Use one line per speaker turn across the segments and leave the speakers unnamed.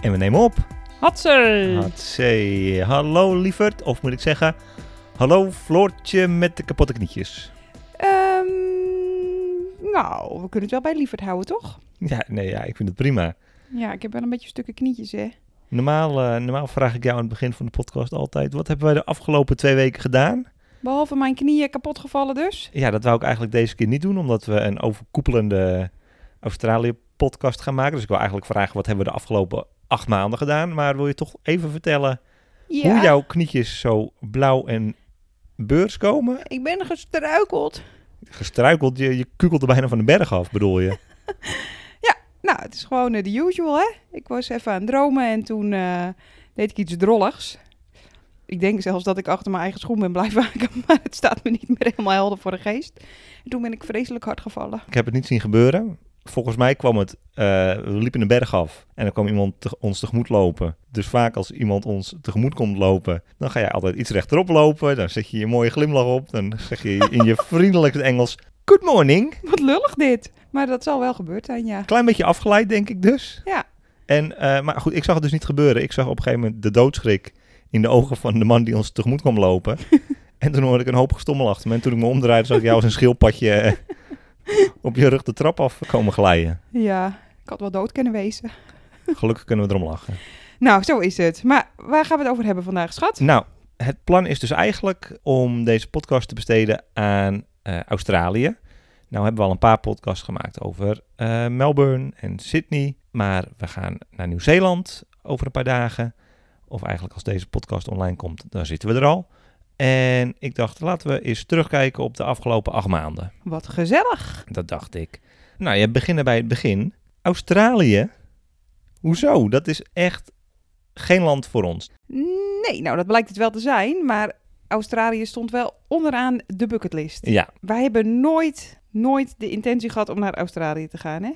En we nemen op. Hmm.
Hatser!
Hatsé. Hallo lieverd, of moet ik zeggen, hallo Floortje met de kapotte knietjes.
Ehm, nou, we kunnen het wel bij Lievert houden, toch?
Ja, nee, ja, ik vind het prima.
Ja, ik heb wel een beetje stukken knietjes, hè?
Normaal, eh, normaal vraag ik jou aan het begin van de podcast altijd, wat hebben wij de afgelopen twee weken gedaan?
Behalve mijn knieën kapot gevallen dus.
Ja, dat wou ik eigenlijk deze keer niet doen, omdat we een overkoepelende Australië-podcast gaan maken. Dus ik wil eigenlijk vragen, wat hebben we de afgelopen acht maanden gedaan? Maar wil je toch even vertellen
Ja,
hoe jouw knietjes zo blauw en beurs komen?
ik ben gestruikeld.
Gestruikeld, je, je kukelt er bijna van de berg af, bedoel je?
Nou, het is gewoon eh, de usual, hè? Ik was even aan het dromen en toen eh, deed ik iets drolligs. Ik denk zelfs dat ik achter mijn eigen schoen ben blijven haken, maar het staat me niet meer helemaal helder voor de geest. En toen ben ik vreselijk hard gevallen.
Ik heb het niet zien gebeuren. Volgens mij kwam het, eh, we liepen een berg af en er kwam iemand te- ons tegemoet lopen. Dus vaak als iemand ons tegemoet komt lopen, dan ga jij altijd iets rechterop lopen. Dan zet je je mooie glimlach op. Dan zeg je in je vriendelijkste Engels, good morning.
Wat lullig dit! Maar dat zal wel gebeurd zijn, ja.
Klein beetje afgeleid denk ik dus.
Ja.
En, eh, maar goed, ik zag het dus niet gebeuren. Ik zag op een gegeven moment de doodschrik in de ogen van de man die ons tegemoet kwam lopen. en toen hoorde ik een hoop gestommel achter me. En toen ik me omdraaide, zag ik jou als een schildpadje eh, op je rug de trap af komen glijden.
Ja, ik had wel dood kunnen wezen.
Gelukkig kunnen we erom lachen.
Nou, zo is het. Maar waar gaan we het over hebben vandaag, schat?
Nou, het plan is dus eigenlijk om deze podcast te besteden aan eh, Australië. Nou hebben we al een paar podcasts gemaakt over eh, Melbourne en Sydney. Maar we gaan naar Nieuw-Zeeland over een paar dagen. Of eigenlijk als deze podcast online komt, dan zitten we er al. En ik dacht, laten we eens terugkijken op de afgelopen acht maanden.
Wat gezellig!
Dat dacht ik. Nou, je beginnen bij het begin. Australië? Hoezo? Dat is echt geen land voor ons.
Nee, nou dat blijkt het wel te zijn, maar Australië stond wel onderaan de bucketlist.
Ja,
Wij hebben nooit, nooit de intentie gehad om naar Australië te gaan, hè?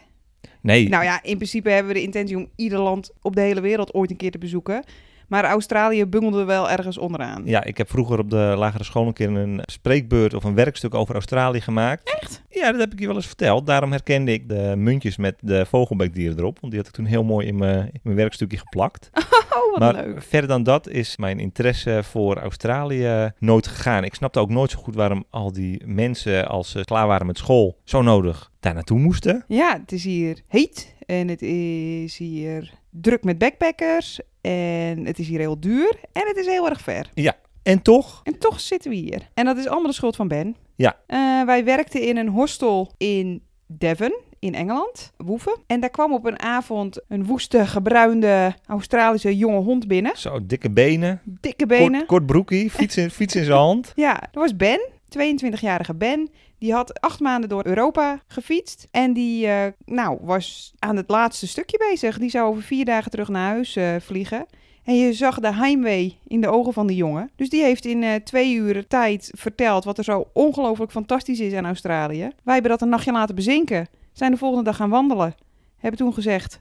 nee.
Nou ja, in principe hebben we de intentie om ieder land op de hele wereld ooit een keer te bezoeken. Maar Australië bungelde wel ergens onderaan.
Ja, ik heb vroeger op de lagere school een keer een spreekbeurt of een werkstuk over Australië gemaakt.
Echt?
Ja, dat heb ik je wel eens verteld. Daarom herkende ik de muntjes met de vogelbekdieren erop. Want die had ik toen heel mooi in mijn, in mijn werkstukje geplakt.
Oh, wat
maar
leuk.
verder dan dat is mijn interesse voor Australië nooit gegaan. Ik snapte ook nooit zo goed waarom al die mensen, als ze klaar waren met school, zo nodig daar naartoe moesten.
Ja, het is hier heet en het is hier druk met backpackers en het is hier heel duur en het is heel erg ver.
En toch,
En toch zitten we hier. En dat is allemaal de schuld van Ben.
Ja.
Eh, wij werkten in een hostel in Devon, in Engeland, Woeven. En daar kwam op een avond een woeste, gebruinde Australische jonge hond binnen.
zo dikke benen,
Dikke benen.
Kort, kort broekie, fiets in, fiets in zijn hand.
Ja, dat was Ben, 22-jarige Ben. Die had acht maanden door Europa gefietst. En die eh, nou, was aan het laatste stukje bezig. Die zou over vier dagen terug naar huis eh, vliegen. En je zag de heimwee in de ogen van de jongen. Dus die heeft in eh, twee uur tijd verteld wat er zo ongelooflijk fantastisch is aan Australië. Wij hebben dat een nachtje laten bezinken. Zijn de volgende dag gaan wandelen. Hebben toen gezegd,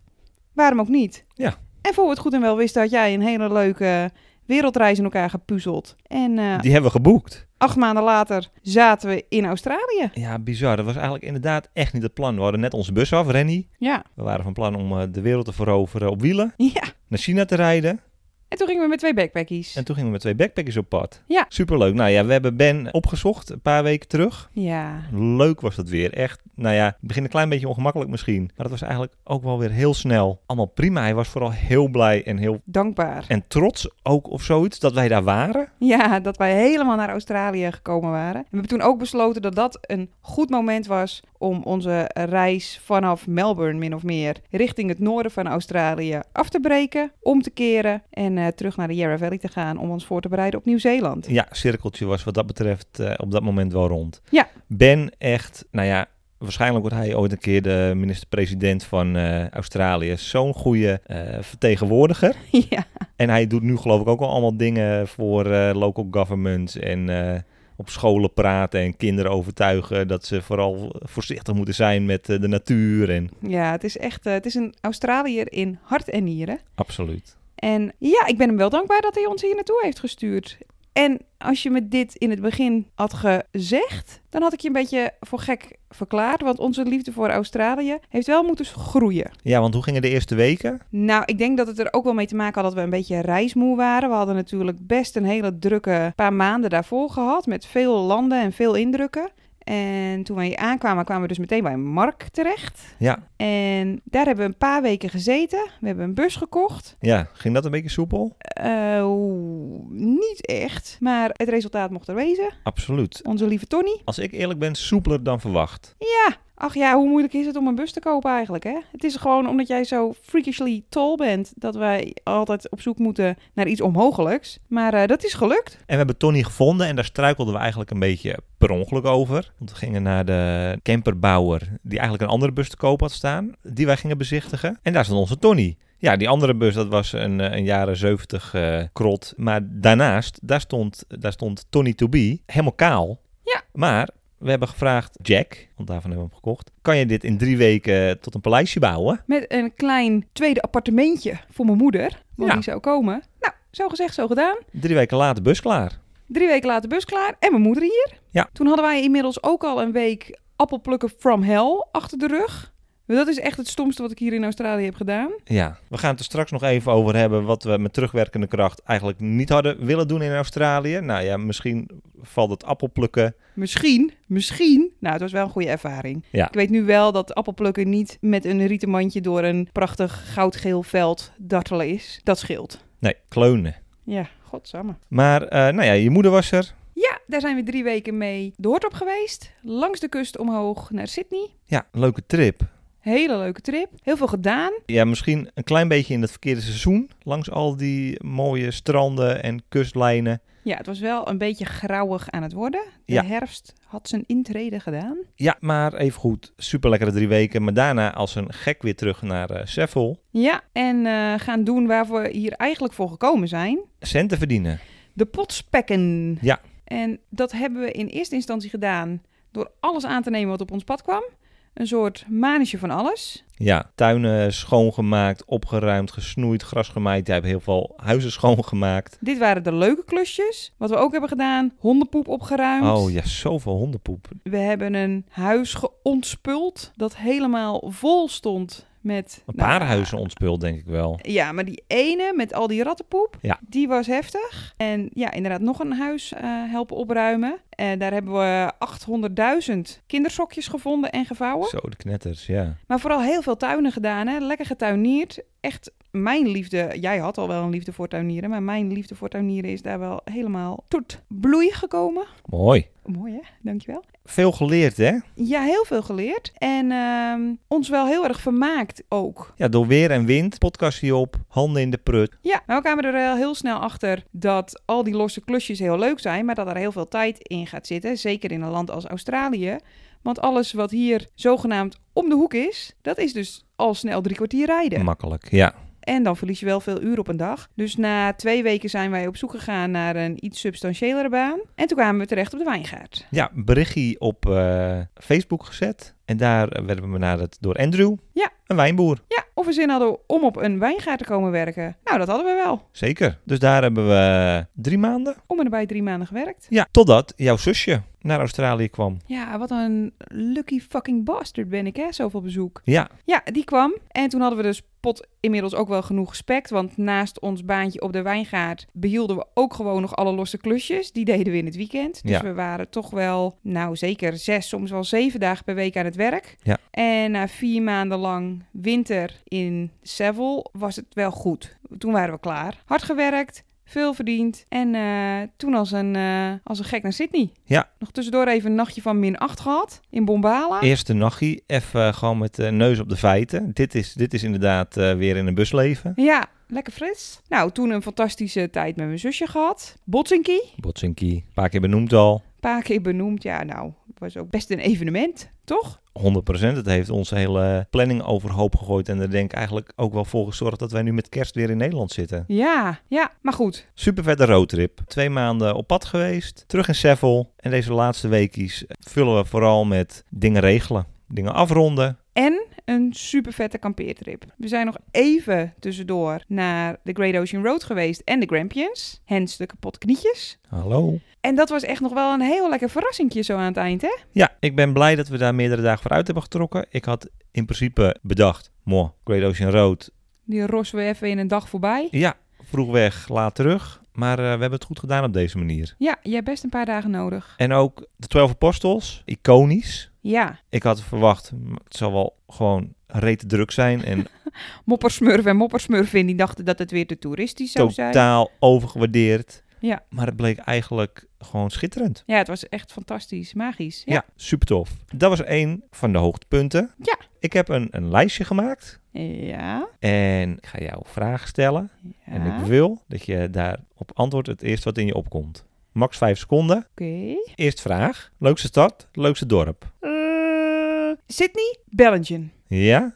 waarom ook niet?
Ja.
En voor we het goed en wel wisten had jij een hele leuke wereldreis in elkaar gepuzzeld. En eh,
Die hebben we geboekt.
Acht maanden later zaten we in Australië.
Ja, bizar. Dat was eigenlijk inderdaad echt niet het plan. We hadden net onze bus af, Rennie.
Ja.
We waren van plan om eh, de wereld te veroveren op wielen,
Ja.
naar China te rijden.
En toen gingen we met twee backpackies.
En toen gingen we met twee backpackers op pad.
Ja.
Superleuk. Nou ja, we hebben Ben opgezocht een paar weken terug.
Ja.
Leuk was dat weer. Echt, nou ja, het begint een klein beetje ongemakkelijk misschien. Maar dat was eigenlijk ook wel weer heel snel. Allemaal prima. Hij was vooral heel blij en heel...
Dankbaar.
En trots ook of zoiets dat wij daar waren.
Ja, dat wij helemaal naar Australië gekomen waren. En we hebben toen ook besloten dat dat een goed moment was om onze reis vanaf Melbourne min of meer richting het noorden van Australië af te breken, om te keren en eh, terug naar de Yarra Valley te gaan om ons voor te bereiden op Nieuw-Zeeland.
Ja, cirkeltje was wat dat betreft eh, op dat moment wel rond.
Ja.
Ben echt, nou ja, Waarschijnlijk wordt hij ooit een keer de minister-president van eh, Australië. Zo'n goede eh, vertegenwoordiger.
ja.
En hij doet nu geloof ik ook al allemaal dingen voor eh, local governments en eh, op scholen praten en kinderen overtuigen dat ze vooral voorzichtig moeten zijn met eh, de natuur en
ja, het is echt eh, het is een Australiër in hart en nieren.
absoluut.
En ja, ik ben hem wel dankbaar dat hij ons hier naartoe heeft gestuurd. En als je me dit in het begin had gezegd, dan had ik je een beetje voor gek verklaard. Want onze liefde voor Australië heeft wel moeten groeien.
Ja, want hoe gingen de eerste weken?
Nou, ik denk dat het er ook wel mee te maken had dat we een beetje reismoe waren. We hadden natuurlijk best een hele drukke paar maanden daarvoor gehad. Met veel landen en veel indrukken. En toen we hier aankwamen, kwamen we dus meteen bij Mark terecht.
Ja,
En daar hebben we een paar weken gezeten. We hebben een bus gekocht.
ja. ging dat een beetje soepel?
Eh, oeh, niet echt, maar het resultaat mocht er wezen.
Absoluut.
Onze lieve Tony.
Als ik eerlijk ben, soepeler dan verwacht.
Ja, ach ja, hoe moeilijk is het om een bus te kopen eigenlijk, hè? Het is gewoon omdat jij zo freakishly tall bent... dat wij altijd op zoek moeten naar iets onmogelijks. Maar eh, dat is gelukt.
En we hebben Tony gevonden en daar struikelden we eigenlijk een beetje per ongeluk over. Want we gingen naar de camperbouwer die eigenlijk een andere bus te koop had staan, die wij gingen bezichtigen. En daar stond onze Tony. Ja, die andere bus, dat was een, eh, een jaren 70 eh, krot. Maar daarnaast, daar stond, daar stond Tony to be, helemaal kaal.
Ja.
Maar we hebben gevraagd, Jack, want daarvan hebben we hem gekocht, kan je dit in drie weken tot een paleisje bouwen?
Met een klein tweede appartementje voor mijn moeder. Want
Ja.
die zou komen. Nou, zo gezegd, zo gedaan.
Drie weken later, bus klaar.
Drie weken later bus klaar en mijn moeder hier.
Ja.
Toen hadden wij inmiddels ook al een week appelplukken from hell achter de rug. Dat is echt het stomste wat ik hier in Australië heb gedaan.
Ja, we gaan het er straks nog even over hebben wat we met terugwerkende kracht eigenlijk niet hadden willen doen in Australië. Nou ja, misschien valt het appelplukken.
Misschien, misschien. Nou, het was wel een goede ervaring.
Ja.
Ik weet nu wel dat appelplukken niet met een rieten mandje door een prachtig goudgeel veld dartelen is. Dat scheelt.
Nee, kleunen.
Ja, godsamme.
Maar eh, nou ja, je moeder was er.
Ja, daar zijn we drie weken mee de hort op geweest. Langs de kust omhoog naar Sydney.
Ja, leuke trip.
Hele leuke trip. Heel veel gedaan.
Ja, misschien een klein beetje in het verkeerde seizoen. Langs al die mooie stranden en kustlijnen.
Ja, het was wel een beetje grauwig aan het worden. De
Ja.
herfst had zijn intrede gedaan.
Ja, maar even goed. Super lekkere drie weken. Maar daarna als een gek weer terug naar eh Seffel.
Ja, en eh, gaan doen waar we hier eigenlijk voor gekomen zijn.
Centen verdienen.
De potspekken.
Ja.
En dat hebben we in eerste instantie gedaan door alles aan te nemen wat op ons pad kwam. Een soort manetje van alles.
Ja, tuinen schoongemaakt, opgeruimd, gesnoeid, gras gemaaid. Jij hebt heel veel huizen schoongemaakt.
Dit waren de leuke klusjes. Wat we ook hebben gedaan, hondenpoep opgeruimd.
Oh ja, zoveel hondenpoep.
We hebben een huis geontspuld dat helemaal vol stond met...
Een
nou,
paar huizen ontspult, denk ik wel.
Ja, maar die ene met al die rattenpoep,
Ja.
die was heftig. En ja, inderdaad nog een huis eh, helpen opruimen. En daar hebben we 800.000 kindersokjes gevonden en gevouwen.
Zo, de knetters, ja.
Maar vooral heel veel tuinen gedaan, hè? lekker getuineerd. Echt mijn liefde. Jij had al wel een liefde voor tuinieren, maar mijn liefde voor tuinieren is daar wel helemaal tot bloei gekomen.
Mooi.
Mooi hè, dankjewel.
Veel geleerd, hè?
Ja, heel veel geleerd en ehm, ons wel heel erg vermaakt ook.
Ja, door weer en wind, podcast hierop, handen in de prut.
Ja, maar we kwamen er wel heel snel achter dat al die losse klusjes heel leuk zijn, maar dat er heel veel tijd in gaat zitten. Zeker in een land als Australië. Want alles wat hier zogenaamd om de hoek is, dat is dus al snel drie kwartier rijden.
Makkelijk, ja.
En dan verlies je wel veel uren op een dag. Dus na twee weken zijn wij op zoek gegaan naar een iets substantiëlere baan. En toen kwamen we terecht op de wijngaard.
Ja, berichtje op eh, Facebook gezet. En daar eh, werden we benaderd door Andrew.
Ja.
Een wijnboer,
Ja, of we zin hadden om op een wijngaard te komen werken. Nou, dat hadden we wel.
zeker. Dus daar hebben we eh, drie maanden.
Om en bij drie maanden gewerkt.
Ja, totdat jouw zusje naar Australië kwam.
Ja, wat een lucky fucking bastard ben ik, hè? Zoveel bezoek.
Ja,
Ja, die kwam. En toen hadden we de pot inmiddels ook wel genoeg gespekt. Want naast ons baantje op de wijngaard behielden we ook gewoon nog alle losse klusjes. Die deden we in het weekend. Dus
Ja.
we waren toch wel, nou zeker zes, soms wel zeven dagen per week aan het werk.
Ja.
En na vier maanden lang winter in Seville was het wel goed. Toen waren we klaar. Hard gewerkt. Veel verdiend. En eh, toen als een, eh, als een gek naar Sydney.
Ja.
Nog tussendoor even een nachtje van min 8 gehad. In Bombala.
eerste nachtje. Even eh, gewoon met de neus op de feiten. Dit is, dit is inderdaad eh, weer in een busleven.
Ja, lekker fris. Nou, toen een fantastische tijd met mijn zusje gehad. Botsinki,
Botsinki, een paar keer benoemd al.
een paar keer benoemd. Ja, nou, was ook best een evenement, toch?
100% 100%. Het heeft onze hele planning overhoop gegooid. En er denk ik eigenlijk ook wel voor gezorgd dat wij nu met kerst weer in Nederland zitten.
Ja, ja, maar goed.
Super vette roadtrip. Twee maanden op pad geweest. Terug in Seffel. En deze laatste weekies vullen we vooral met dingen regelen. Dingen afronden.
En een super vette kampeertrip. We zijn nog even tussendoor naar de Great Ocean Road geweest en de Grampians. Hens de kapot knietjes.
Hallo.
En dat was echt nog wel een heel lekker verrassingje zo aan het eind, hè?
Ja, ik ben blij dat we daar meerdere dagen voor uit hebben getrokken. Ik had in principe bedacht, mooi, Great Ocean Road.
Die rossen we even in een dag voorbij.
Ja, vroeg weg, laat terug. Maar eh, we hebben het goed gedaan op deze manier.
Ja, je hebt best een paar dagen nodig.
En ook de 12 apostels, iconisch.
Ja,
Ik had verwacht, m, het zal wel gewoon rete druk zijn en
moppersmurf en moppersmurfin die dachten dat het weer te toeristisch zou zijn.
totaal overgewaardeerd.
Ja.
Maar het bleek eigenlijk gewoon schitterend.
Ja, het was echt fantastisch, magisch.
Ja,
Ja.
super tof. Dat was één van de hoogtepunten.
Ja.
Ik heb een, een lijstje gemaakt
Ja.
en ik ga jou vragen stellen. En
Ja.
ik wil dat je daarop antwoordt het eerst wat in je opkomt. Max 5 seconden.
Oké.
Eerst vraag. Leukste stad, leukste dorp.
Eh, Sydney, Belgium.
Ja?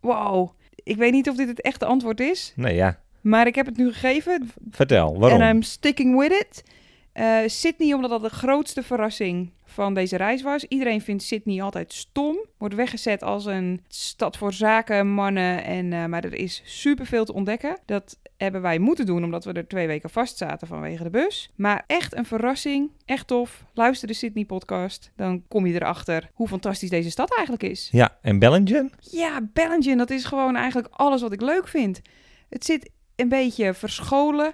Wow. Ik weet niet of dit het echte antwoord is,
Nou ja,
maar ik heb het nu gegeven.
vertel.
En
Waarom?
I'm sticking with it. Eh, Sydney, omdat dat de grootste verrassing van deze reis was. Iedereen vindt Sydney altijd stom. Wordt weggezet als een stad voor zaken, mannen. En, eh, maar er is superveel te ontdekken. Dat hebben wij moeten doen, omdat we er twee weken vast zaten vanwege de bus. Maar echt een verrassing. Echt tof. Luister de Sydney-podcast. Dan kom je erachter hoe fantastisch deze stad eigenlijk is.
Ja, en Bellingen?
Ja, Bellingen, dat is gewoon eigenlijk alles wat ik leuk vind. Het zit een beetje verscholen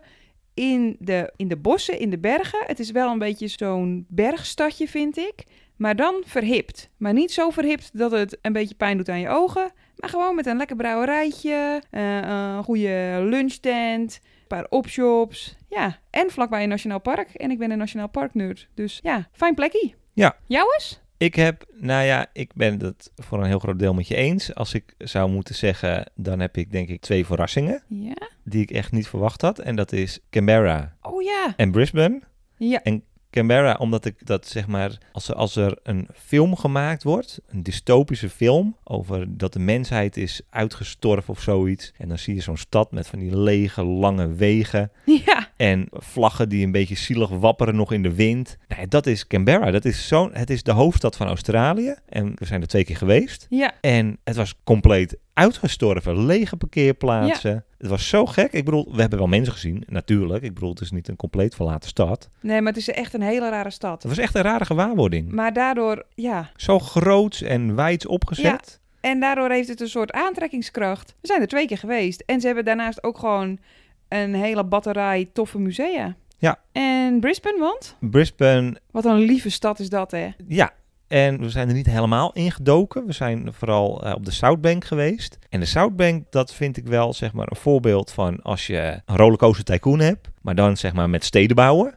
in de, in de bossen, in de bergen. Het is wel een beetje zo'n bergstadje, vind ik. Maar dan verhipt. Maar niet zo verhipt dat het een beetje pijn doet aan je ogen. Maar gewoon met een lekker brouwerijtje, eh, een goede lunchtent, een paar opshops. Ja, en vlakbij een nationaal park. En ik ben een nationaal park nerd. Dus ja, fijn plekje.
Ja.
Jou eens?
Ik heb, nou ja, ik ben het voor een heel groot deel met je eens. Als ik zou moeten zeggen, dan heb ik denk ik twee verrassingen
Ja.
die ik echt niet verwacht had. En dat is Canberra
Oh ja.
en Brisbane.
Ja.
Canberra, omdat ik dat zeg maar, als er, als er een film gemaakt wordt, een dystopische film, over dat de mensheid is uitgestorven of zoiets. En dan zie je zo'n stad met van die lege, lange wegen
Ja.
en vlaggen die een beetje zielig wapperen nog in de wind. Nee, dat is Canberra, dat is zo'n, het is de hoofdstad van Australië en we zijn er twee keer geweest.
Ja.
En het was compleet uitgestorven. Lege parkeerplaatsen. Het was zo gek. Ik bedoel, we hebben wel mensen gezien, natuurlijk. Ik bedoel, het is niet een compleet verlaten stad.
Nee, maar het is echt een hele rare
Het
stad.
was echt een rare gewaarwording.
Maar daardoor, ja.
Zo groots en wijds opgezet.
En daardoor heeft het een soort aantrekkingskracht. We zijn er twee keer geweest. En ze hebben daarnaast ook gewoon een hele batterij toffe musea.
Ja.
En Brisbane, want?
Brisbane,
Wat een lieve stad is dat, hè?
ja. En we zijn er niet helemaal ingedoken. We zijn vooral eh, op de Southbank geweest. En de Southbank, dat vind ik wel zeg maar een voorbeeld van als je een rollercoaster tycoon hebt, maar dan zeg maar met steden bouwen.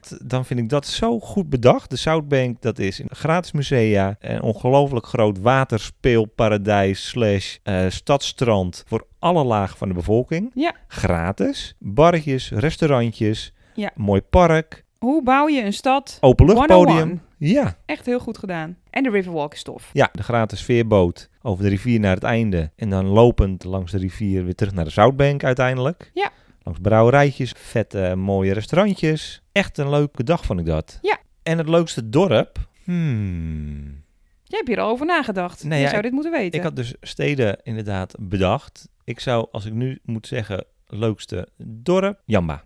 T- dan vind ik dat zo goed bedacht. De Southbank, dat is een gratis musea, een ongelooflijk groot waterspeelparadijs slash eh, stadstrand voor alle lagen van de bevolking.
Ja.
Gratis. Barretjes, restaurantjes,
Ja.
mooi park.
Hoe bouw je een stad?
Openluchtpodium.
101.
Ja.
Echt heel goed gedaan. En de Riverwalk is tof.
ja, de gratis veerboot over de rivier naar het einde. En dan lopend langs de rivier weer terug naar de Zoutbank uiteindelijk.
Ja.
Langs brouwerijtjes, vette eh, mooie restaurantjes. Echt een leuke dag vond ik dat.
Ja.
En het leukste dorp? Hmm.
Jij hebt hier al over nagedacht.
Nee,
je
ja,
zou dit moeten weten.
Ik had dus steden inderdaad bedacht. Ik zou, als ik nu moet zeggen, leukste dorp, Jamba.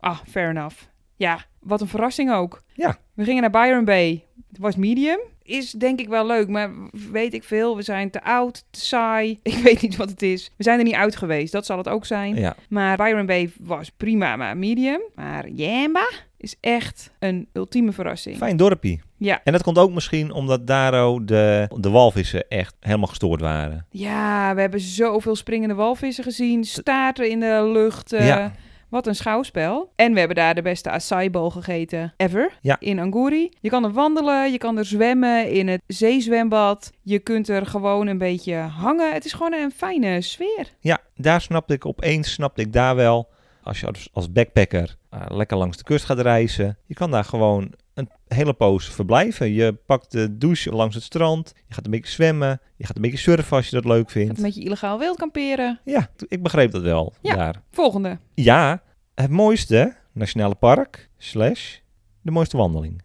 Ah, fair enough. Ja, wat een verrassing ook.
Ja.
We gingen naar Byron Bay. Het was medium. Is denk ik wel leuk, maar weet ik veel. We zijn te oud, te saai. Ik weet niet wat het is. We zijn er niet uit geweest, dat zal het ook zijn.
Ja,
Maar Byron Bay was prima, maar medium. Maar Yamba is echt een ultieme verrassing.
fijn dorpie.
Ja.
En dat komt ook misschien omdat Daro de, de walvissen echt helemaal gestoord waren.
Ja, we hebben zoveel springende walvissen gezien. Staarten in de lucht. eh,
Ja.
Wat een schouwspel. En we hebben daar de beste acai-bowl gegeten ever
Ja.
in Anguri. Je kan er wandelen, je kan er zwemmen in het zeezwembad. Je kunt er gewoon een beetje hangen. Het is gewoon een fijne sfeer.
Ja, daar snapte ik opeens, snapte ik daar wel. Als je als, als backpacker eh, lekker langs de kust gaat reizen, je kan daar gewoon een hele poos verblijven. Je pakt de douche langs het strand. Je gaat een beetje zwemmen. Je gaat een beetje surfen als je dat leuk
Gaat
vindt.
een beetje illegaal wild kamperen.
Ja, ik begreep dat wel.
Ja.
Daar.
Volgende.
ja het mooiste nationale park slash de mooiste wandeling.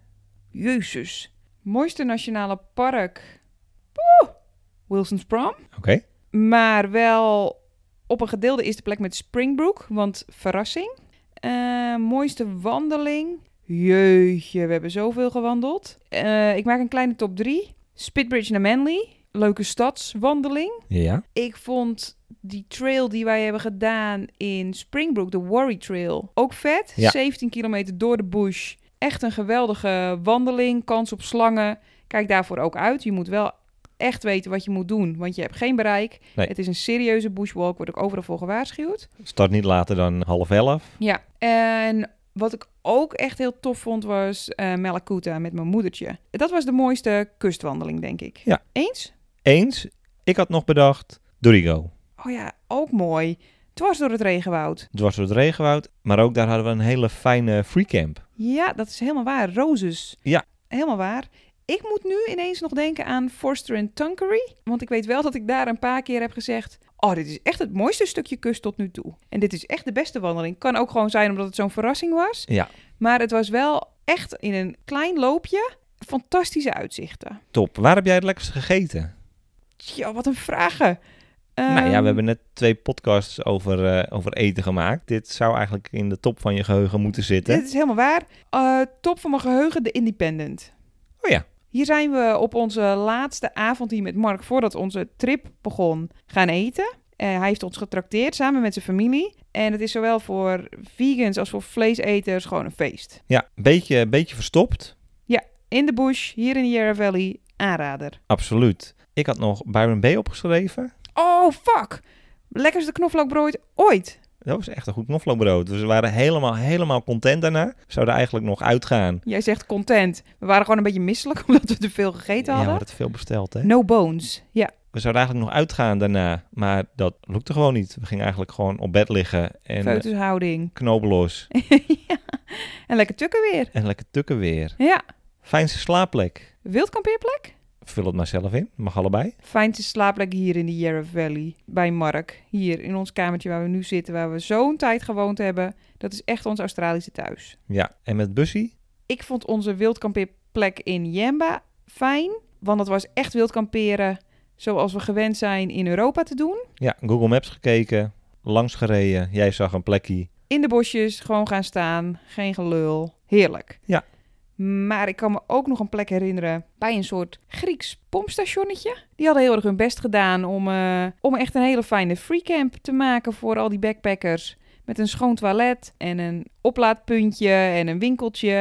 Jezus. Mooiste nationale park. Poeh. Wilson's Prom.
Oké,
Maar wel op een gedeelde eerste plek met Springbrook. Want verrassing. Eh, mooiste wandeling. Jeetje, we hebben zoveel gewandeld. Eh, ik maak een kleine top 3. Spitbridge naar Manly. Leuke stadswandeling.
ja.
Ik vond die trail die wij hebben gedaan in Springbrook, de Worry Trail, ook vet.
Ja.
17 kilometer door de bush. Echt een geweldige wandeling, kans op slangen. Kijk daarvoor ook uit. Je moet wel echt weten wat je moet doen, want je hebt geen bereik.
Nee.
Het is een serieuze bushwalk, word ik overal voor gewaarschuwd.
Start niet later dan half elf.
Ja, en wat ik ook echt heel tof vond was eh Malakuta met mijn moedertje. Dat was de mooiste kustwandeling, denk ik.
Ja.
Eens?
Eens, ik had nog bedacht Dorigo.
Oh ja, ook mooi. Dwars door het regenwoud.
Dwars door het regenwoud. Maar ook daar hadden we een hele fijne freecamp.
Ja, dat is helemaal waar. Roses.
Ja.
Helemaal waar. Ik moet nu ineens nog denken aan Forster en Tankery. Want ik weet wel dat ik daar een paar keer heb gezegd... Oh, dit is echt het mooiste stukje kust tot nu toe. En dit is echt de beste wandeling. Kan ook gewoon zijn omdat het zo'n verrassing was.
Ja.
Maar het was wel echt in een klein loopje fantastische uitzichten.
Top. Waar heb jij het lekkerst gegeten?
Ja, wat een vragen.
nou ja,
Ehm,
we hebben net twee podcasts over, eh, over eten gemaakt. Dit zou eigenlijk in de top van je geheugen moeten zitten.
Dit is helemaal waar. Eh, top van mijn geheugen, de Independent.
Oh ja.
Hier zijn we op onze laatste avond hier met Mark, voordat onze trip begon, gaan eten. Eh, hij heeft ons getrakteerd samen met zijn familie. En het is zowel voor vegans als voor vleeseters gewoon een feest.
Ja, een beetje, een beetje verstopt.
In de bush, hier in de Yarra Valley, aanrader.
Absoluut. Ik had nog Byron Bay opgeschreven.
Oh, fuck! Lekkerste knoflookbrood ooit.
Dat was echt een goed knoflookbrood. Dus we waren helemaal, helemaal content daarna. We zouden eigenlijk nog uitgaan.
Jij zegt content. We waren gewoon een beetje misselijk omdat we te veel gegeten
Ja, we
hadden.
hadden het veel besteld, hè?
No bones. Ja.
We zouden eigenlijk nog uitgaan daarna, maar dat lukte gewoon niet. We gingen eigenlijk gewoon op bed liggen en eh, knopen
Feutushouding.
knobelos
ja. En lekker tukken weer.
en lekker tukken weer.
Ja.
Fijnste slaapplek.
Wildkampeerplek?
Vul het maar zelf in, mag allebei.
Fijnste slaapplek hier in de Yarra Valley. Bij Mark. Hier in ons kamertje waar we nu zitten. Waar we zo'n tijd gewoond hebben. Dat is echt ons Australische thuis.
Ja, en met Bussie?
Ik vond onze wildkampeerplek in Yamba fijn. Want dat was echt wildkamperen zoals we gewend zijn in Europa te doen.
Ja, Google Maps gekeken, langs gereden. Jij zag een plekje.
In de bosjes, gewoon gaan staan, geen gelul. Heerlijk.
Ja.
Maar ik kan me ook nog een plek herinneren bij een soort Grieks pompstationnetje. Die hadden heel erg hun best gedaan om, eh, om echt een hele fijne freecamp te maken voor al die backpackers. Met een schoon toilet en een oplaadpuntje en een winkeltje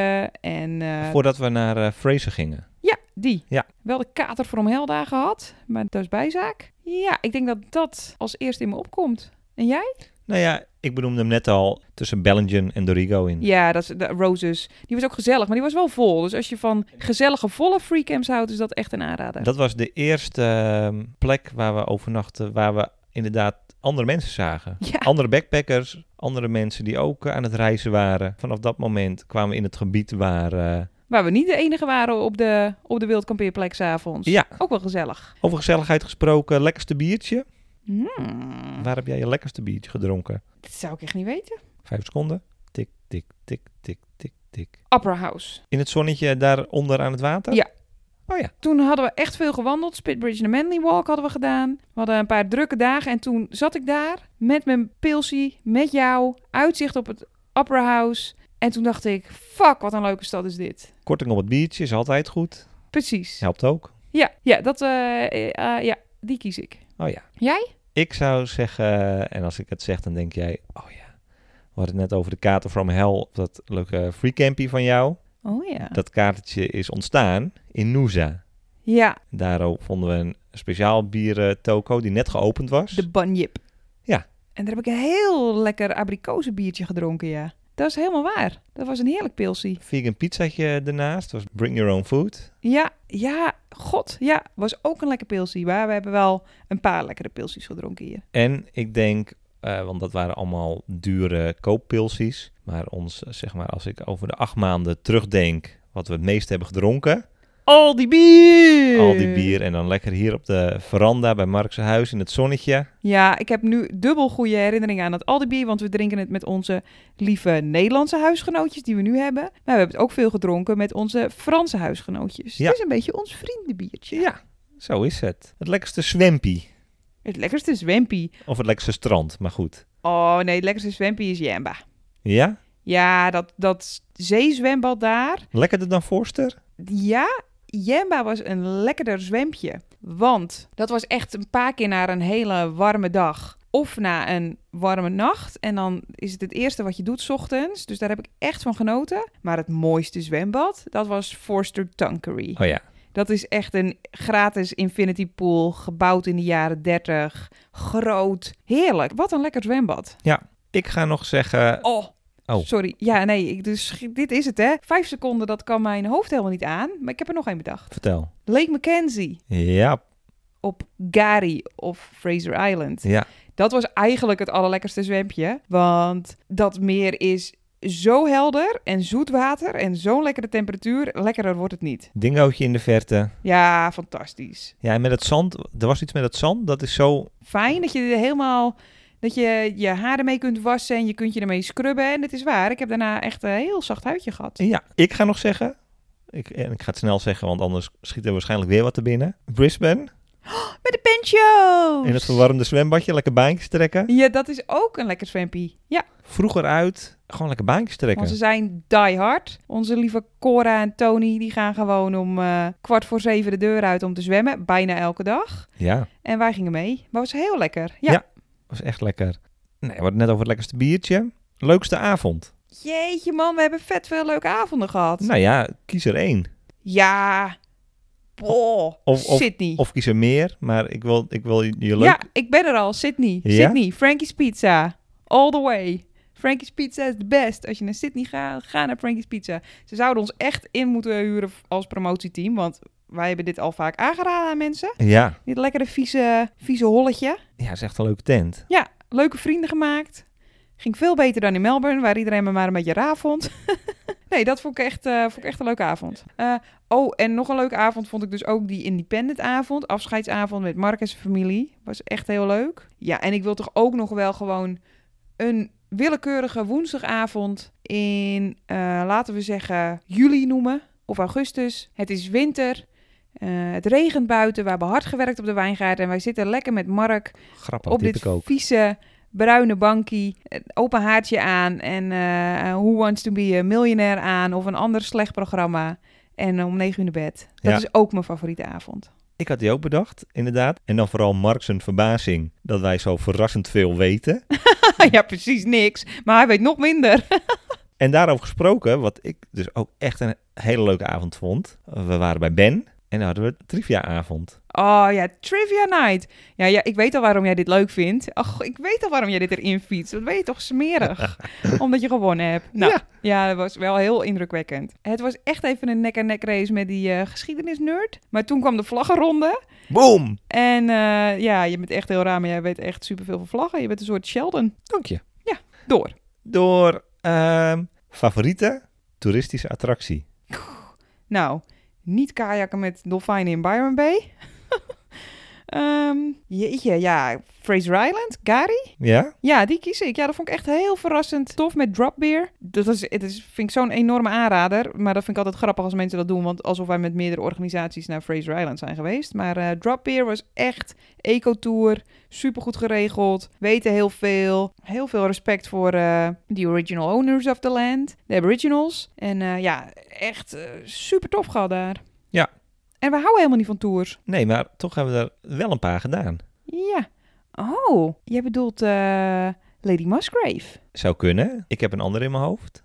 en... eh,
Voordat we naar eh, Fraser gingen.
Ja, die.
Ja.
Wel de kater voor omhelda gehad, maar dat is bijzaak. Ja, ik denk dat dat als eerste in me opkomt. En jij?
Nou ja, ik benoemde hem net al tussen Bellingen en Dorigo in.
Ja, dat is de Roses. Die was ook gezellig, maar die was wel vol. Dus als je van gezellige, volle freecamps houdt, is dat echt een aanrader.
Dat was de eerste ehm, plek waar we overnachten, waar we inderdaad andere mensen zagen.
Ja.
Andere backpackers, andere mensen die ook eh, aan het reizen waren. Vanaf dat moment kwamen we in het gebied waar... eh,
Waar we niet de enige waren op de, op de wildkampeerplek s'avonds.
ja,
Ook wel gezellig.
over gezelligheid gesproken, lekkerste biertje.
Hmm.
Waar heb jij je lekkerste biertje gedronken?
Dat zou ik echt niet weten.
Vijf seconden. Tik, tik, tik, tik, tik, tik.
Opera House.
In het zonnetje daaronder aan het water?
Ja.
Oh ja,
Toen hadden we echt veel gewandeld. Spitbridge en de Manly Walk hadden we gedaan. We hadden een paar drukke dagen. En toen zat ik daar met mijn pilsie, met jou. Uitzicht op het Opera House. En toen dacht ik, fuck, wat een leuke stad is dit.
korting op het biertje is altijd goed.
Precies.
Helpt ook.
Ja, ja, dat, eh, eh, eh, ja die kies ik.
Oh ja.
Jij?
Ik zou zeggen, en als ik het zeg, dan denk jij, oh ja, we hadden het net over de kaarten from hell, op dat leuke freecampie van jou.
Oh ja.
Dat kaartje is ontstaan in Noosa.
Ja,
Daarop vonden we een speciaal bieren toko die net geopend was.
de banjip.
Ja.
En daar heb ik een heel lekker abrikozenbiertje gedronken, ja. Dat is helemaal waar. Dat was een heerlijk pilsie.
Vegan pizzaatje ernaast, was bring your own food.
Ja, ja, god, ja. Was ook een lekker pilsie. Maar we hebben wel een paar lekkere pilsies gedronken hier.
En ik denk, eh, want dat waren allemaal dure kooppilsies, maar ons, eh, zeg maar, als ik over de acht maanden terugdenk, Wat we het meest hebben gedronken.
Al die bier!
Al die bier en dan lekker hier op de veranda bij Mark's huis in het zonnetje.
Ja, ik heb nu dubbel goede herinneringen aan dat Al die bier, want we drinken het met onze lieve Nederlandse huisgenootjes die we nu hebben. Maar we hebben het ook veel gedronken met onze Franse huisgenootjes.
Ja.
Het is een beetje ons vriendenbiertje.
Ja, zo is het. Het lekkerste zwempie.
Het lekkerste zwempie.
Of het lekkerste strand, maar goed.
Oh nee, het lekkerste zwempie is Jamba.
Ja?
Ja, dat, dat zeezwembad daar.
Lekkerder dan Forster?
Ja, Jemba was een lekkerder zwempje. Want dat was echt een paar keer na een hele warme dag. Of na een warme nacht. En dan is het het eerste wat je doet 's ochtends. Dus daar heb ik echt van genoten. Maar het mooiste zwembad, dat was Forster Tankery.
Oh ja.
Dat is echt een gratis infinity pool, gebouwd in de jaren 30. Groot. Heerlijk. Wat een lekker zwembad.
Ik ga nog zeggen...
Oh.
Oh.
Sorry. Ja, nee. Ik, dus, dit is het, hè. Vijf seconden, dat kan mijn hoofd helemaal niet aan. Maar ik heb er nog één bedacht.
Vertel.
Lake Mackenzie
Ja,
op Gary of Fraser Island.
ja.
Dat was eigenlijk het allerlekkerste zwempje. Want dat meer is zo helder en zoet water en zo'n lekkere temperatuur. Lekkerder wordt het niet.
Dingootje in de verte.
Ja, fantastisch.
Ja, en met het zand. Er was iets met het zand. Dat is zo...
Fijn dat je er helemaal... Dat je je haren mee kunt wassen en je kunt je ermee scrubben. En het is waar, ik heb daarna echt een heel zacht huidje gehad.
Ja, ik ga nog zeggen... Ik, en ik ga het snel zeggen, want anders schiet er waarschijnlijk weer wat te binnen. Brisbane.
Met de pensio's!
In het verwarmde zwembadje. Lekker baantjes trekken.
Ja, dat is ook een lekker zwempie. Ja,
Vroeger uit. Gewoon lekker baantjes trekken.
Want ze zijn die hard. Onze lieve Cora en Tony die gaan gewoon om eh, kwart voor zeven de deur uit om te zwemmen. Bijna elke dag.
Ja.
En wij gingen mee. Maar was heel lekker. Ja.
Ja. was echt lekker. Nee, we hadden het net over het lekkerste biertje. Leukste avond.
Jeetje man, we hebben vet veel leuke avonden gehad.
Nou ja, kies er één.
Ja. Boah,
Of- of-
Sydney.
Of kies er meer, maar ik wil, ik wil je je leuk...
ja, ik ben er al. Sydney.
Ja?
Sydney. Frankie's Pizza. All the way. Frankie's Pizza is de best. Als je naar Sydney gaat, ga naar Frankie's Pizza. Ze zouden ons echt in moeten huren als promotieteam. Want wij hebben dit al vaak aangeraden aan mensen.
Ja.
Dit lekkere vieze, vieze holletje.
Ja, is echt een leuke tent.
Ja, leuke vrienden gemaakt. Ging veel beter dan in Melbourne, waar iedereen me maar een beetje raar vond. nee, dat vond ik echt, eh, vond ik echt een leuke avond. Eh, oh, en nog een leuke avond vond ik dus ook die Independent avond. Afscheidsavond met Mark en zijn familie. Was echt heel leuk. Ja, en ik wil toch ook nog wel gewoon een willekeurige woensdagavond in, eh, laten we zeggen, juli noemen. Of augustus. Het is winter. Eh, het regent buiten. We hebben hard gewerkt op de wijngaard. En wij zitten lekker met Mark
Grappig,
op
dit
dit
ik ook.
vieze bruine bankie, een open haartje aan en eh, Who Wants to Be a Millionaire aan of een ander slecht programma. En om negen uur naar bed. Dat
Ja.
is ook mijn favoriete avond.
Ik had die ook bedacht, inderdaad. En dan vooral Mark zijn verbazing dat wij zo verrassend veel weten.
ja, precies niks. Maar hij weet nog minder.
En daarover gesproken, wat ik dus ook echt een hele leuke avond vond. We waren bij Ben en dan hadden we trivia-avond.
Oh ja, Trivia Night. Ja, ja, ik weet al waarom jij dit leuk vindt. Ach, ik weet al waarom jij dit erin fietst. Wat ben je toch smerig. Omdat je gewonnen hebt. Nou, ja. dat was wel heel indrukwekkend. Het was echt even een nek-aan-nek race met die eh, geschiedenisnerd. Maar toen kwam de vlaggenronde.
Boom!
En eh, ja, je bent echt heel raar, maar jij weet echt superveel van vlaggen. Je bent een soort Sheldon.
Dank je.
Door.
Door ehm, favoriete toeristische attractie.
Nou, niet kajakken met dolfijnen in Byron Bay. Ehm, jeetje, ja, Fraser Island, Gary.
Ja?
Ja, die kies ik. Ja, dat vond ik echt heel verrassend tof met Drop Beer. Dat is, het is, vind ik zo'n enorme aanrader. Maar dat vind ik altijd grappig als mensen dat doen. Want alsof wij met meerdere organisaties naar Fraser Island zijn geweest. Maar eh Drop Beer was echt eco-tour. Supergoed geregeld. Weten heel veel. Heel veel respect voor eh, de original owners of the land. De aboriginals. En eh, ja, echt eh, super tof gehad daar.
Ja.
En we houden helemaal niet van tours.
Nee, maar toch hebben we er wel een paar gedaan.
Ja. Oh, jij bedoelt eh, Lady Musgrave.
Zou kunnen. Ik heb een ander in mijn hoofd.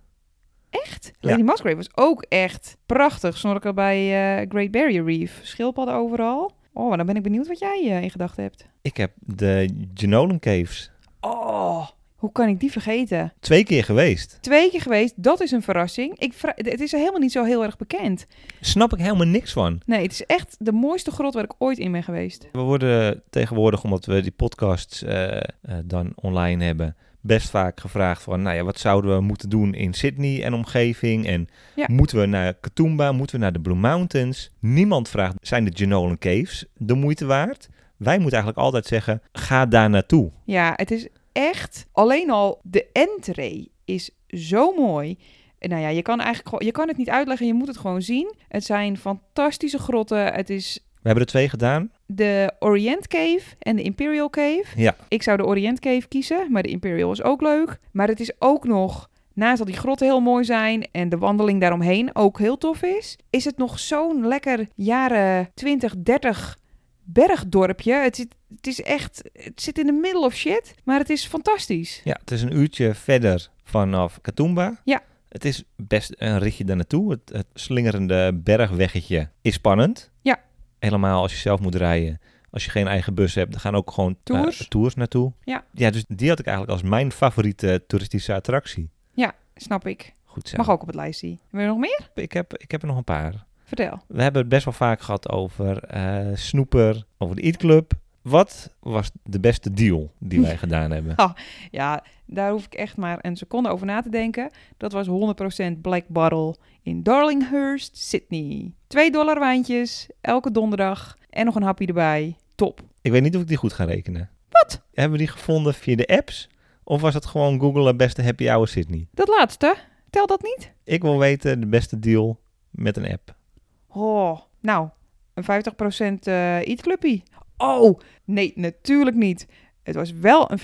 Echt?
Ja.
Lady Musgrave was ook echt prachtig. Snorkel bij eh, Great Barrier Reef. Schildpadden overal. Oh, dan ben ik benieuwd wat jij eh, in gedachten hebt.
Ik heb de Genolan Caves
Oh, hoe kan ik die vergeten?
twee keer geweest.
Twee keer geweest, dat is een verrassing. Ik vra- het is helemaal niet zo heel erg bekend.
Snap ik helemaal niks van.
Nee, het is echt de mooiste grot waar ik ooit in ben geweest.
We worden tegenwoordig, omdat we die podcasts eh, eh, dan online hebben, best vaak gevraagd van, nou ja, wat zouden we moeten doen in Sydney en omgeving? En
Ja.
moeten we naar Katoomba? Moeten we naar de Blue Mountains? Niemand vraagt, zijn de Jenolan Caves de moeite waard? Wij moeten eigenlijk altijd zeggen, ga daar naartoe.
Ja, het is echt. Alleen al de entree is zo mooi. En Nou ja, je kan, eigenlijk, gewoon- je kan het niet uitleggen, je moet het gewoon zien. Het zijn fantastische grotten. Het is
We hebben er twee gedaan.
de Orient Cave en de Imperial Cave.
Ja.
Ik zou de Orient Cave kiezen, maar de Imperial is ook leuk. Maar het is ook nog, naast dat die grotten heel mooi zijn en de wandeling daaromheen ook heel tof is, is het nog zo'n lekker jaren 20, 30 bergdorpje. Het, zit- het is echt, het zit in de middle of shit, maar het is fantastisch.
Ja, het is een uurtje verder vanaf Katoomba.
Ja.
Het is best een ritje daar naartoe. Het, het slingerende bergweggetje is spannend.
Ja.
Helemaal als je zelf moet rijden. Als je geen eigen bus hebt, dan gaan ook gewoon eh,
Tours.
tours naartoe.
Ja.
Ja, dus die had ik eigenlijk als mijn favoriete toeristische attractie.
Snap ik.
Goed zo.
Mag ook op het lijstje. Wil je nog meer?
Ik heb, ik heb er nog een paar.
Vertel.
We hebben het best wel vaak gehad over eh, Snoeper, over de Eat Club. Wat was de beste deal die wij gedaan hebben?
Ja, daar hoef ik echt maar een seconde over na te denken. Dat was 100% Black Bottle in Darlinghurst, Sydney. 2 dollar wijntjes, elke donderdag en nog een hapje erbij. Top.
Ik weet niet of ik die goed ga rekenen.
Wat?
Hebben we die gevonden via de apps? Of was het gewoon Google de beste happy hour Sydney?
Dat laatste, tel dat niet?
Ik wil weten de beste deal met een app.
Oh, nou, een 50% eh Eat Clubpie. Oh, nee, natuurlijk niet. Het was wel een 50%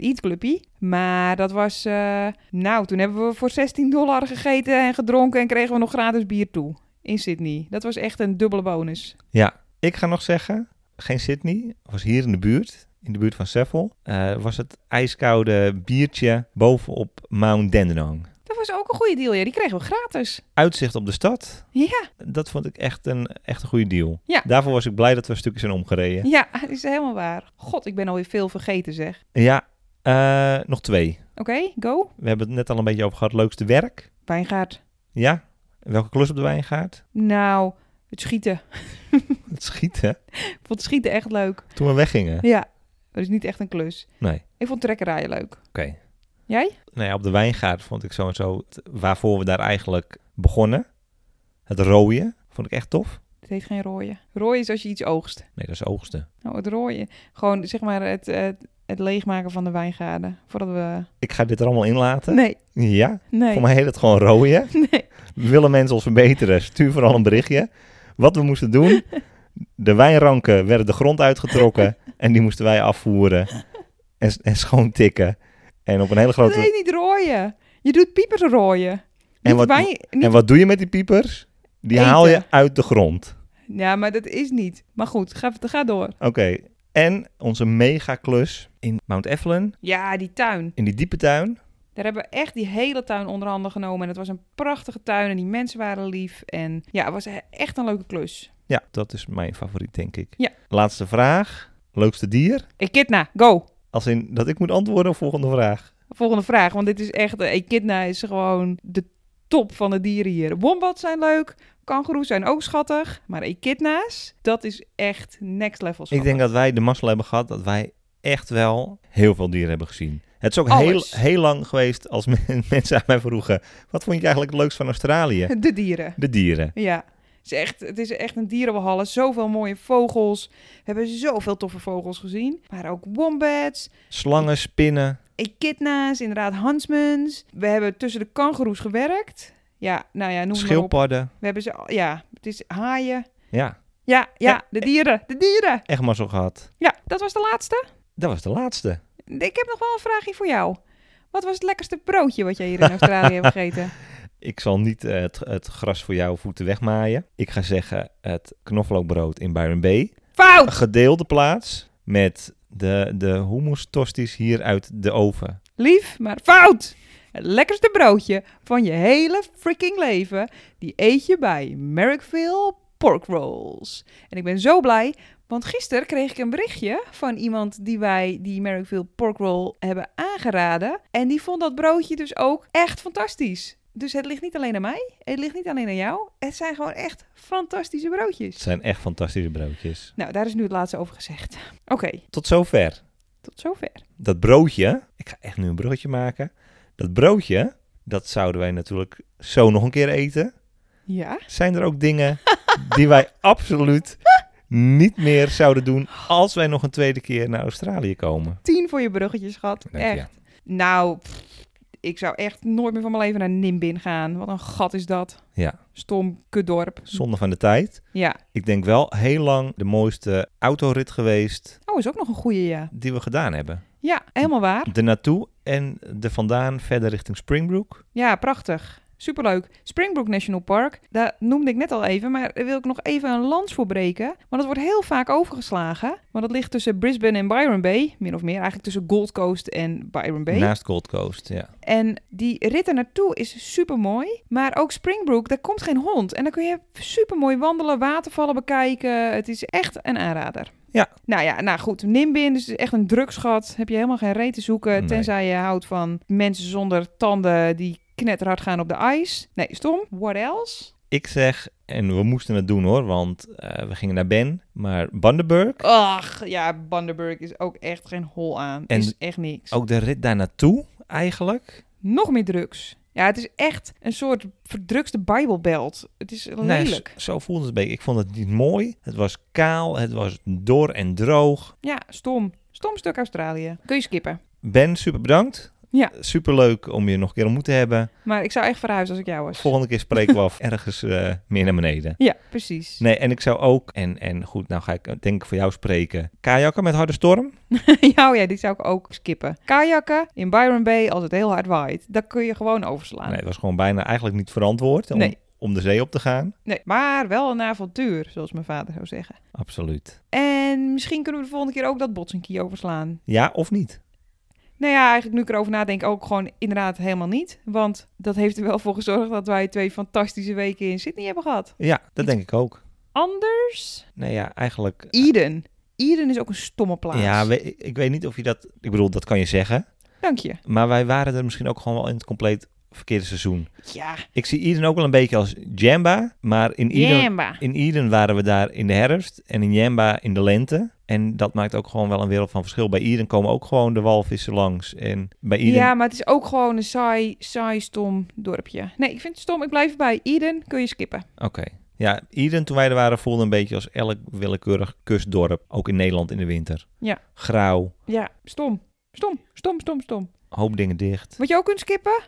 Eat Clubpie, maar dat was... eh, nou, toen hebben we voor 16 dollar gegeten en gedronken en kregen we nog gratis bier toe in Sydney. Dat was echt een dubbele bonus.
Ja, ik ga nog zeggen, geen Sydney. Was hier in de buurt, in de buurt van Seffel. eh, was het ijskoude biertje bovenop Mount Dandenong.
Dat was ook een goede deal, ja. Die kregen we gratis.
Uitzicht op de stad,
Ja,
dat vond ik echt een, echt een goede deal.
Ja.
Daarvoor was ik blij dat we een stukje zijn omgereden.
ja, dat is helemaal waar. God, ik ben alweer veel vergeten, zeg.
Ja, eh, nog twee.
Oké, go.
We hebben het net al een beetje over gehad. Leukste werk.
Wijngaard.
Ja, welke klus op de wijngaard?
Nou, het schieten.
Het schieten.
Ik vond het schieten echt leuk.
Toen we weggingen.
Ja, dat is niet echt een klus.
Nee.
Ik vond trekkerrijen leuk.
Oké.
Jij?
Nou ja, op de wijngaard vond ik zo en zo het- waarvoor we daar eigenlijk begonnen. Het rooien vond ik echt tof.
Het heet geen rooien. Rooien is als je iets oogst.
Nee, dat is oogsten.
Nou, het rooien. Gewoon, zeg maar, het, het, het leegmaken van de wijngaarden. Voordat we...
Ik ga dit er allemaal in laten.
Nee,
Ja,
nee.
voor mij heet het gewoon rooien.
Nee.
Willen mensen ons verbeteren? Stuur vooral een berichtje. Wat we moesten doen. De wijnranken werden de grond uitgetrokken. en die moesten wij afvoeren. En, en schoon tikken. En op een hele
Dat
grote...
heet niet rooien. Je doet piepers rooien.
En
Niet
wat-
wijn- niet
En wat doe je met die piepers? Die
Eten.
haal je uit de grond.
Ja, maar dat is niet. Maar goed, ga, ga door.
Oké. En onze megaklus in Mount Evelyn,
Ja, die tuin.
in die diepe tuin.
Daar hebben we echt die hele tuin onder handen genomen. En het was een prachtige tuin en die mensen waren lief. En ja, het was e- echt een leuke klus.
Ja, dat is mijn favoriet, denk ik.
Ja.
Laatste vraag. Leukste dier?
Ekidna, go!
Als in dat ik moet antwoorden op volgende vraag.
Volgende vraag, want dit is echt... eh, Ekidna is gewoon de top van de dieren hier. Wombats zijn leuk, kangoeroes zijn ook schattig. Maar ekidna's, dat is echt next level
Ik
schattig.
denk dat wij de mazzel hebben gehad dat wij echt wel heel veel dieren hebben gezien. Het is ook heel,
Alles.
heel lang geweest als men- mensen aan mij vroegen... wat vond je eigenlijk het leukst van Australië?
De dieren.
De dieren.
Ja, het is echt, het is echt een dierenbehalve. Zoveel mooie vogels. We hebben zoveel toffe vogels gezien. Maar ook wombats,
Slangen, spinnen.
echidna's, inderdaad hansmans. We hebben tussen de kangoeroes gewerkt. Ja, nou ja, noem het maar op.
Schildpadden.
We hebben ze, al- ja, het is haaien.
Ja,
Ja, ja, de dieren, de dieren.
echt mazzel gehad.
Ja, dat was de laatste.
Dat was de laatste.
Ik heb nog wel een vraagje voor jou. Wat was het lekkerste broodje wat jij hier in Australië hebt gegeten?
Ik zal niet eh, het, het gras voor jouw voeten wegmaaien. Ik ga zeggen het knoflookbrood in Byron Bay. Een
Fout!
gedeelde plaats met de, de hummus tosties hier uit de oven.
Lief, maar fout! Het lekkerste broodje van je hele freaking leven, die eet je bij Merrickville Pork Rolls. En ik ben zo blij, want gisteren kreeg ik een berichtje van iemand die wij die Merrickville Pork Roll hebben aangeraden. En die vond dat broodje dus ook echt fantastisch. Dus het ligt niet alleen aan mij, het ligt niet alleen aan jou. Het zijn gewoon echt fantastische
Het
broodjes.
zijn echt fantastische broodjes.
Nou, daar is nu het laatste over gezegd. Oké,
Tot zover.
Tot zover.
Dat broodje, ik ga echt nu een broodje maken. Dat broodje, dat zouden wij natuurlijk zo nog een keer eten.
Ja.
Zijn er ook dingen die wij absoluut niet meer zouden doen als wij nog een tweede keer naar Australië komen?
Tien voor je bruggetjes, schat.
Dank je.
echt. Nou, pff, ik zou echt nooit meer van mijn leven naar Nimbin gaan. Wat een gat is dat.
Ja.
Stom kutdorp.
Zonde van de tijd.
Ja.
Ik denk wel heel lang de mooiste autorit geweest
Oh, is ook nog een goeie, ja.
die we gedaan hebben.
Ja, helemaal waar.
De naartoe en de vandaan verder richting Springbrook.
Ja, prachtig. Superleuk. Springbrook National Park, daar noemde ik net al even, maar daar wil ik nog even een lans voor breken. Want dat wordt heel vaak overgeslagen. Want dat ligt tussen Brisbane en Byron Bay, min of meer. Eigenlijk tussen Gold Coast en Byron Bay.
Naast Gold Coast, ja.
En die rit er naartoe is super mooi. Maar ook Springbrook, daar komt geen hond. En dan kun je super mooi wandelen, watervallen bekijken. Het is echt een aanrader.
Ja.
Nou ja, nou goed. Nimbin dus is echt een drugschat. Heb je helemaal geen reet te zoeken.
Nee.
Tenzij je houdt van mensen zonder tanden die knetterhard gaan op de ijs. Nee, stom. What else?
Ik zeg, en we moesten het doen hoor, want eh, we gingen naar Ben, maar Bundaberg,
Ach, ja, Bundaberg is ook echt geen hol aan.
En-
is echt niks.
ook de rit daar naartoe eigenlijk.
Nog meer drugs. Ja, het is echt een soort verdrukste Bijbelbelt. Het is
Nee,
lelijk.
zo- zo voelde het een beetje. Ik vond het niet mooi. Het was kaal, het was dor en droog.
Ja, stom. Stom stuk Australië. Kun je skippen.
Ben, super bedankt.
Ja.
Super leuk om je nog een keer ontmoet te hebben.
Maar ik zou echt verhuizen als ik jou was.
Volgende keer spreken we af ergens eh, meer naar beneden.
Ja, precies.
Nee, en ik zou ook, en, en goed, nou ga ik eh, denk ik voor jou spreken. Kajakken met harde storm?
ja, oh ja, die zou ik ook skippen. Kajakken in Byron Bay als het heel hard waait. Dat kun je gewoon overslaan.
Nee,
Nee.
het was gewoon bijna eigenlijk niet verantwoord om,
Ah. Nee.
om de zee op te gaan.
Maar wel een avontuur, zoals mijn vader zou zeggen.
Absoluut.
En misschien kunnen we de volgende keer ook dat botsenkie overslaan.
Ja of niet?
Nou ja, eigenlijk nu ik erover nadenk ook gewoon inderdaad helemaal niet. Want dat heeft er wel voor gezorgd dat wij twee fantastische weken in Sydney hebben gehad.
Ja, dat
Iets-
denk ik ook.
Anders?
Nee, ja, eigenlijk.
Eden. Eden is ook een stomme plaats.
Ja, we- ik weet niet of je dat. Ik bedoel, dat kan je zeggen.
Dank je.
Maar wij waren er misschien ook gewoon wel in het compleet verkeerde seizoen.
Ja,
Ik zie Eden ook wel een beetje als Jamba. Maar in Eden,
Jamba.
in Eden waren we daar in de herfst. En in Jamba in de lente. En dat maakt ook gewoon wel een wereld van verschil. Bij Eden komen ook gewoon de walvissen langs. En bij Eden.
Ja, maar het is ook gewoon een saai, saai, stom dorpje. Nee, ik vind het stom. Ik blijf bij Eden. Kun je skippen.
Oké. Ja, Eden toen wij er waren voelde een beetje als elk willekeurig kustdorp. Ook in Nederland in de winter.
Ja.
Grauw,
Ja, stom. Stom, stom, stom, stom.
hoop dingen dicht.
Wat je ook kunt skippen?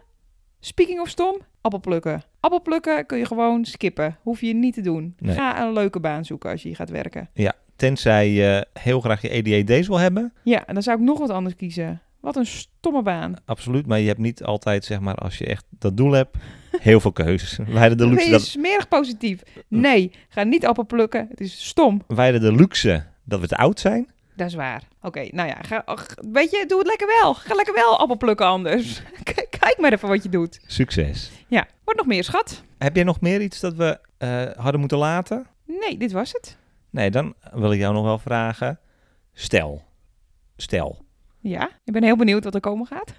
Speaking of stom, appelplukken. Appelplukken kun je gewoon skippen. Hoef je niet te doen.
Nee.
Ga een leuke baan zoeken als je hier gaat werken.
Tenzij je heel graag je EDAD's wil hebben.
Ja, en dan zou ik nog wat anders kiezen. Wat een stomme baan.
Absoluut. Maar je hebt niet altijd, zeg maar, als je echt dat doel hebt, heel veel keuzes. Wij hadden de
Ben
luxe
je
dat,
smerig positief? Nee, ga niet appelplukken. Het is stom.
wij hadden de luxe dat we te oud zijn.
Dat is waar. Oké, nou ja, ga, ach, weet je, doe het lekker wel. Ga lekker wel appel plukken anders. K- Kijk maar even wat je doet.
Succes.
Ja, wordt nog meer, schat?
Heb jij nog meer iets dat we eh, hadden moeten laten?
Nee, dit was het.
Nee, dan wil ik jou nog wel vragen. Stel, stel,
Ja, ik ben heel benieuwd wat er komen gaat.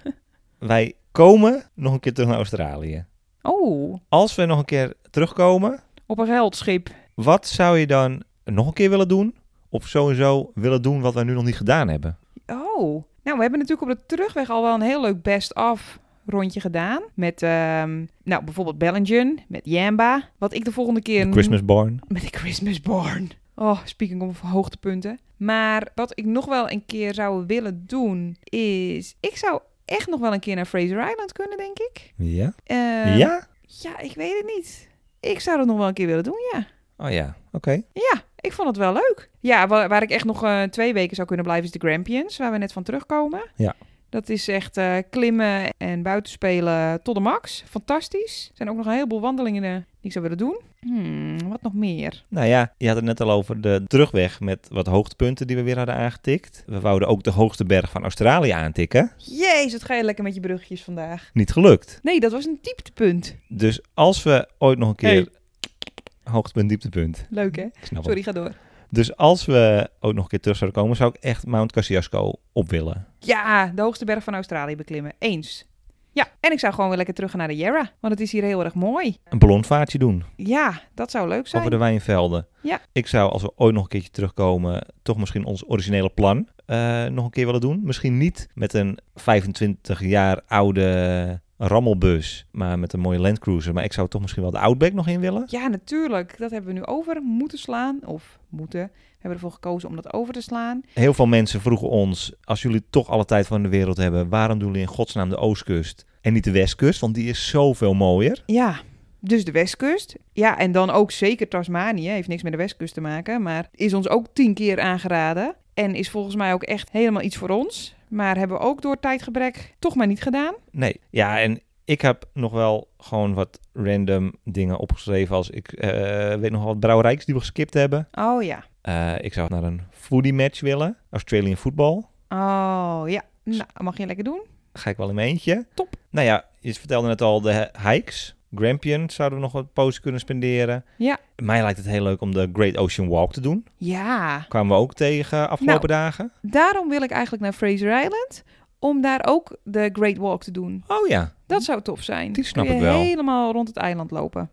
wij komen nog een keer terug naar Australië.
Oh,
Als we nog een keer terugkomen,
op een geldschip.
wat zou je dan nog een keer willen doen? Of sowieso willen doen wat wij nu nog niet gedaan hebben?
Oh, nou, we hebben natuurlijk op de terugweg al wel een heel leuk best-of rondje gedaan. Met, ehm, nou, bijvoorbeeld Bellingen, met Jamba. Wat ik de volgende keer...
De Christmas Barn.
Met de Christmas Barn. Oh, speaking of hoogtepunten. Maar wat ik nog wel een keer zou willen doen is... Ik zou echt nog wel een keer naar Fraser Island kunnen, denk ik.
Ja?
Eh,
ja?
Ja, ik weet het niet. Ik zou dat nog wel een keer willen doen, ja.
Oh ja, oké.
Ja, ik vond het wel leuk. Ja, wa- waar, ik echt nog eh, twee weken zou kunnen blijven is de Grampians, waar we net van terugkomen.
Ja.
Dat is echt eh, klimmen en buitenspelen tot de max. Fantastisch. Er zijn ook nog een heleboel wandelingen eh, die ik zou willen doen. Hmm, wat nog meer?
Nou ja, je had het net al over de terugweg met wat hoogtepunten die we weer hadden aangetikt. We wouden ook de hoogste berg van Australië aantikken.
Jezus, het ga je lekker met je bruggetjes vandaag.
Niet gelukt.
Nee, dat was een dieptepunt.
Dus als we ooit nog een keer... Hoogtepunt, dieptepunt.
Leuk hè?
Ik snap
Sorry, ga door.
het. Dus als we ook nog een keer terug zouden komen, zou ik echt Mount Kosciuszko op willen.
Ja, de hoogste berg van Australië beklimmen. Eens. Ja, en ik zou gewoon weer lekker terug gaan naar de Yarra, want het is hier heel erg mooi.
Een ballonvaartje doen
Ja, dat zou leuk zijn.
over de wijnvelden.
Ja.
Ik zou, als we ooit nog een keertje terugkomen, toch misschien ons originele plan eh, eh, nog een keer willen doen. Misschien niet met een 25 jaar oude rammelbus, maar met een mooie landcruiser. Maar ik zou toch misschien wel de Outback nog in willen.
Ja, natuurlijk. Dat hebben we nu over moeten slaan. Of moeten. We hebben ervoor gekozen om dat over te slaan.
Heel veel mensen vroegen ons, als jullie toch alle tijd van de wereld hebben, waarom doen jullie in godsnaam de Oostkust en niet de Westkust? Want die is zoveel mooier.
Ja, dus de westkust. Ja, en dan ook zeker Tasmanië. Heeft niks met de westkust te maken. Maar is ons ook tien keer aangeraden. En is volgens mij ook echt helemaal iets voor ons. Maar hebben we ook door tijdgebrek toch maar niet gedaan.
Nee, ja, en ik heb nog wel gewoon wat random dingen opgeschreven. Als ik eh, weet nog wel wat brouwerijks die we geskipt hebben.
Oh ja.
Eh, ik zou naar een foodie match willen. Australian voetbal.
Oh ja. Nou, mag je lekker doen.
Ga ik wel in mijn eentje.
Top.
Nou ja, je vertelde net al de he- hikes. Grampian zouden we nog wat poos kunnen spenderen.
Ja.
Mij lijkt het heel leuk om de Great Ocean Walk te doen.
Ja.
Kwamen we ook tegen afgelopen dagen.
Daarom wil ik eigenlijk naar Fraser Island. Om daar ook de Great Walk te doen.
Oh ja.
Dat zou tof zijn.
Die snap
Kun
ik
je
wel.
helemaal rond het eiland lopen.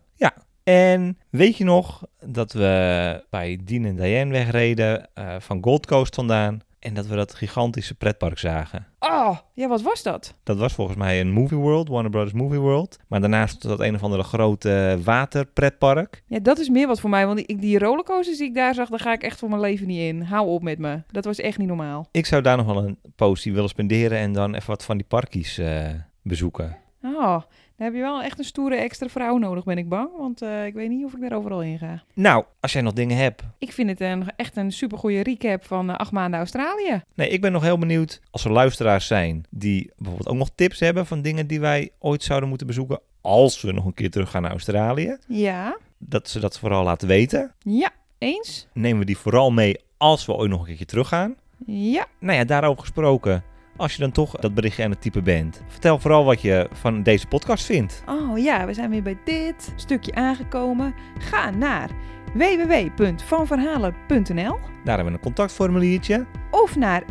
En weet je nog dat we bij Dean en Diane wegreden eh, van Gold Coast vandaan. En dat we dat gigantische pretpark zagen.
Oh, ja, wat was dat?
Dat was volgens mij een Movie World, Warner Brothers Movie World. Maar daarnaast dat een of andere grote waterpretpark.
Ja, dat is meer wat voor mij. Want die, die rollercoasters die ik daar zag, daar ga ik echt voor mijn leven niet in. Hou op met me. Dat was echt niet normaal.
Ik zou daar nog wel een postie willen spenderen en dan even wat van die parkies eh, bezoeken.
Oh, dan heb je wel echt een stoere extra vrouw nodig, ben ik bang. Want eh, ik weet niet of ik daar overal in ga.
Nou, als jij nog dingen hebt.
Ik vind het een, echt een supergoeie recap van eh, acht maanden Australië.
Nee, ik ben nog heel benieuwd als er luisteraars zijn die bijvoorbeeld ook nog tips hebben van dingen die wij ooit zouden moeten bezoeken. Als we nog een keer terug gaan naar Australië.
Ja.
Dat ze dat vooral laten weten.
Ja, eens.
Nemen we die vooral mee als we ooit nog een keertje teruggaan.
Ja.
Nou ja, daarover gesproken. Als je dan toch dat berichtje aan het typen bent. Vertel vooral wat je van deze podcast vindt.
Oh ja, we zijn weer bij dit stukje aangekomen. Ga naar www.vanverhalen.nl
Daar hebben we een contactformuliertje.
of naar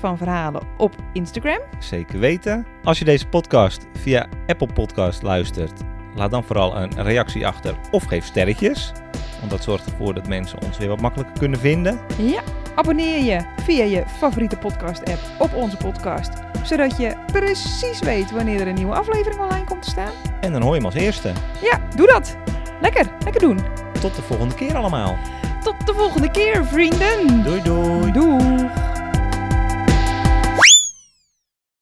@vanverhalen op Instagram.
Zeker weten. Als je deze podcast via Apple Podcast luistert, laat dan vooral een reactie achter of geef sterretjes. Want dat zorgt ervoor dat mensen ons weer wat makkelijker kunnen vinden.
Ja. Abonneer je via je favoriete podcast-app op onze podcast, zodat je precies weet wanneer er een nieuwe aflevering online komt te staan.
En dan hoor je hem als eerste.
Ja, doe dat. Lekker, lekker doen.
Tot de volgende keer allemaal.
Tot de volgende keer, vrienden.
Doei doei.
Doei.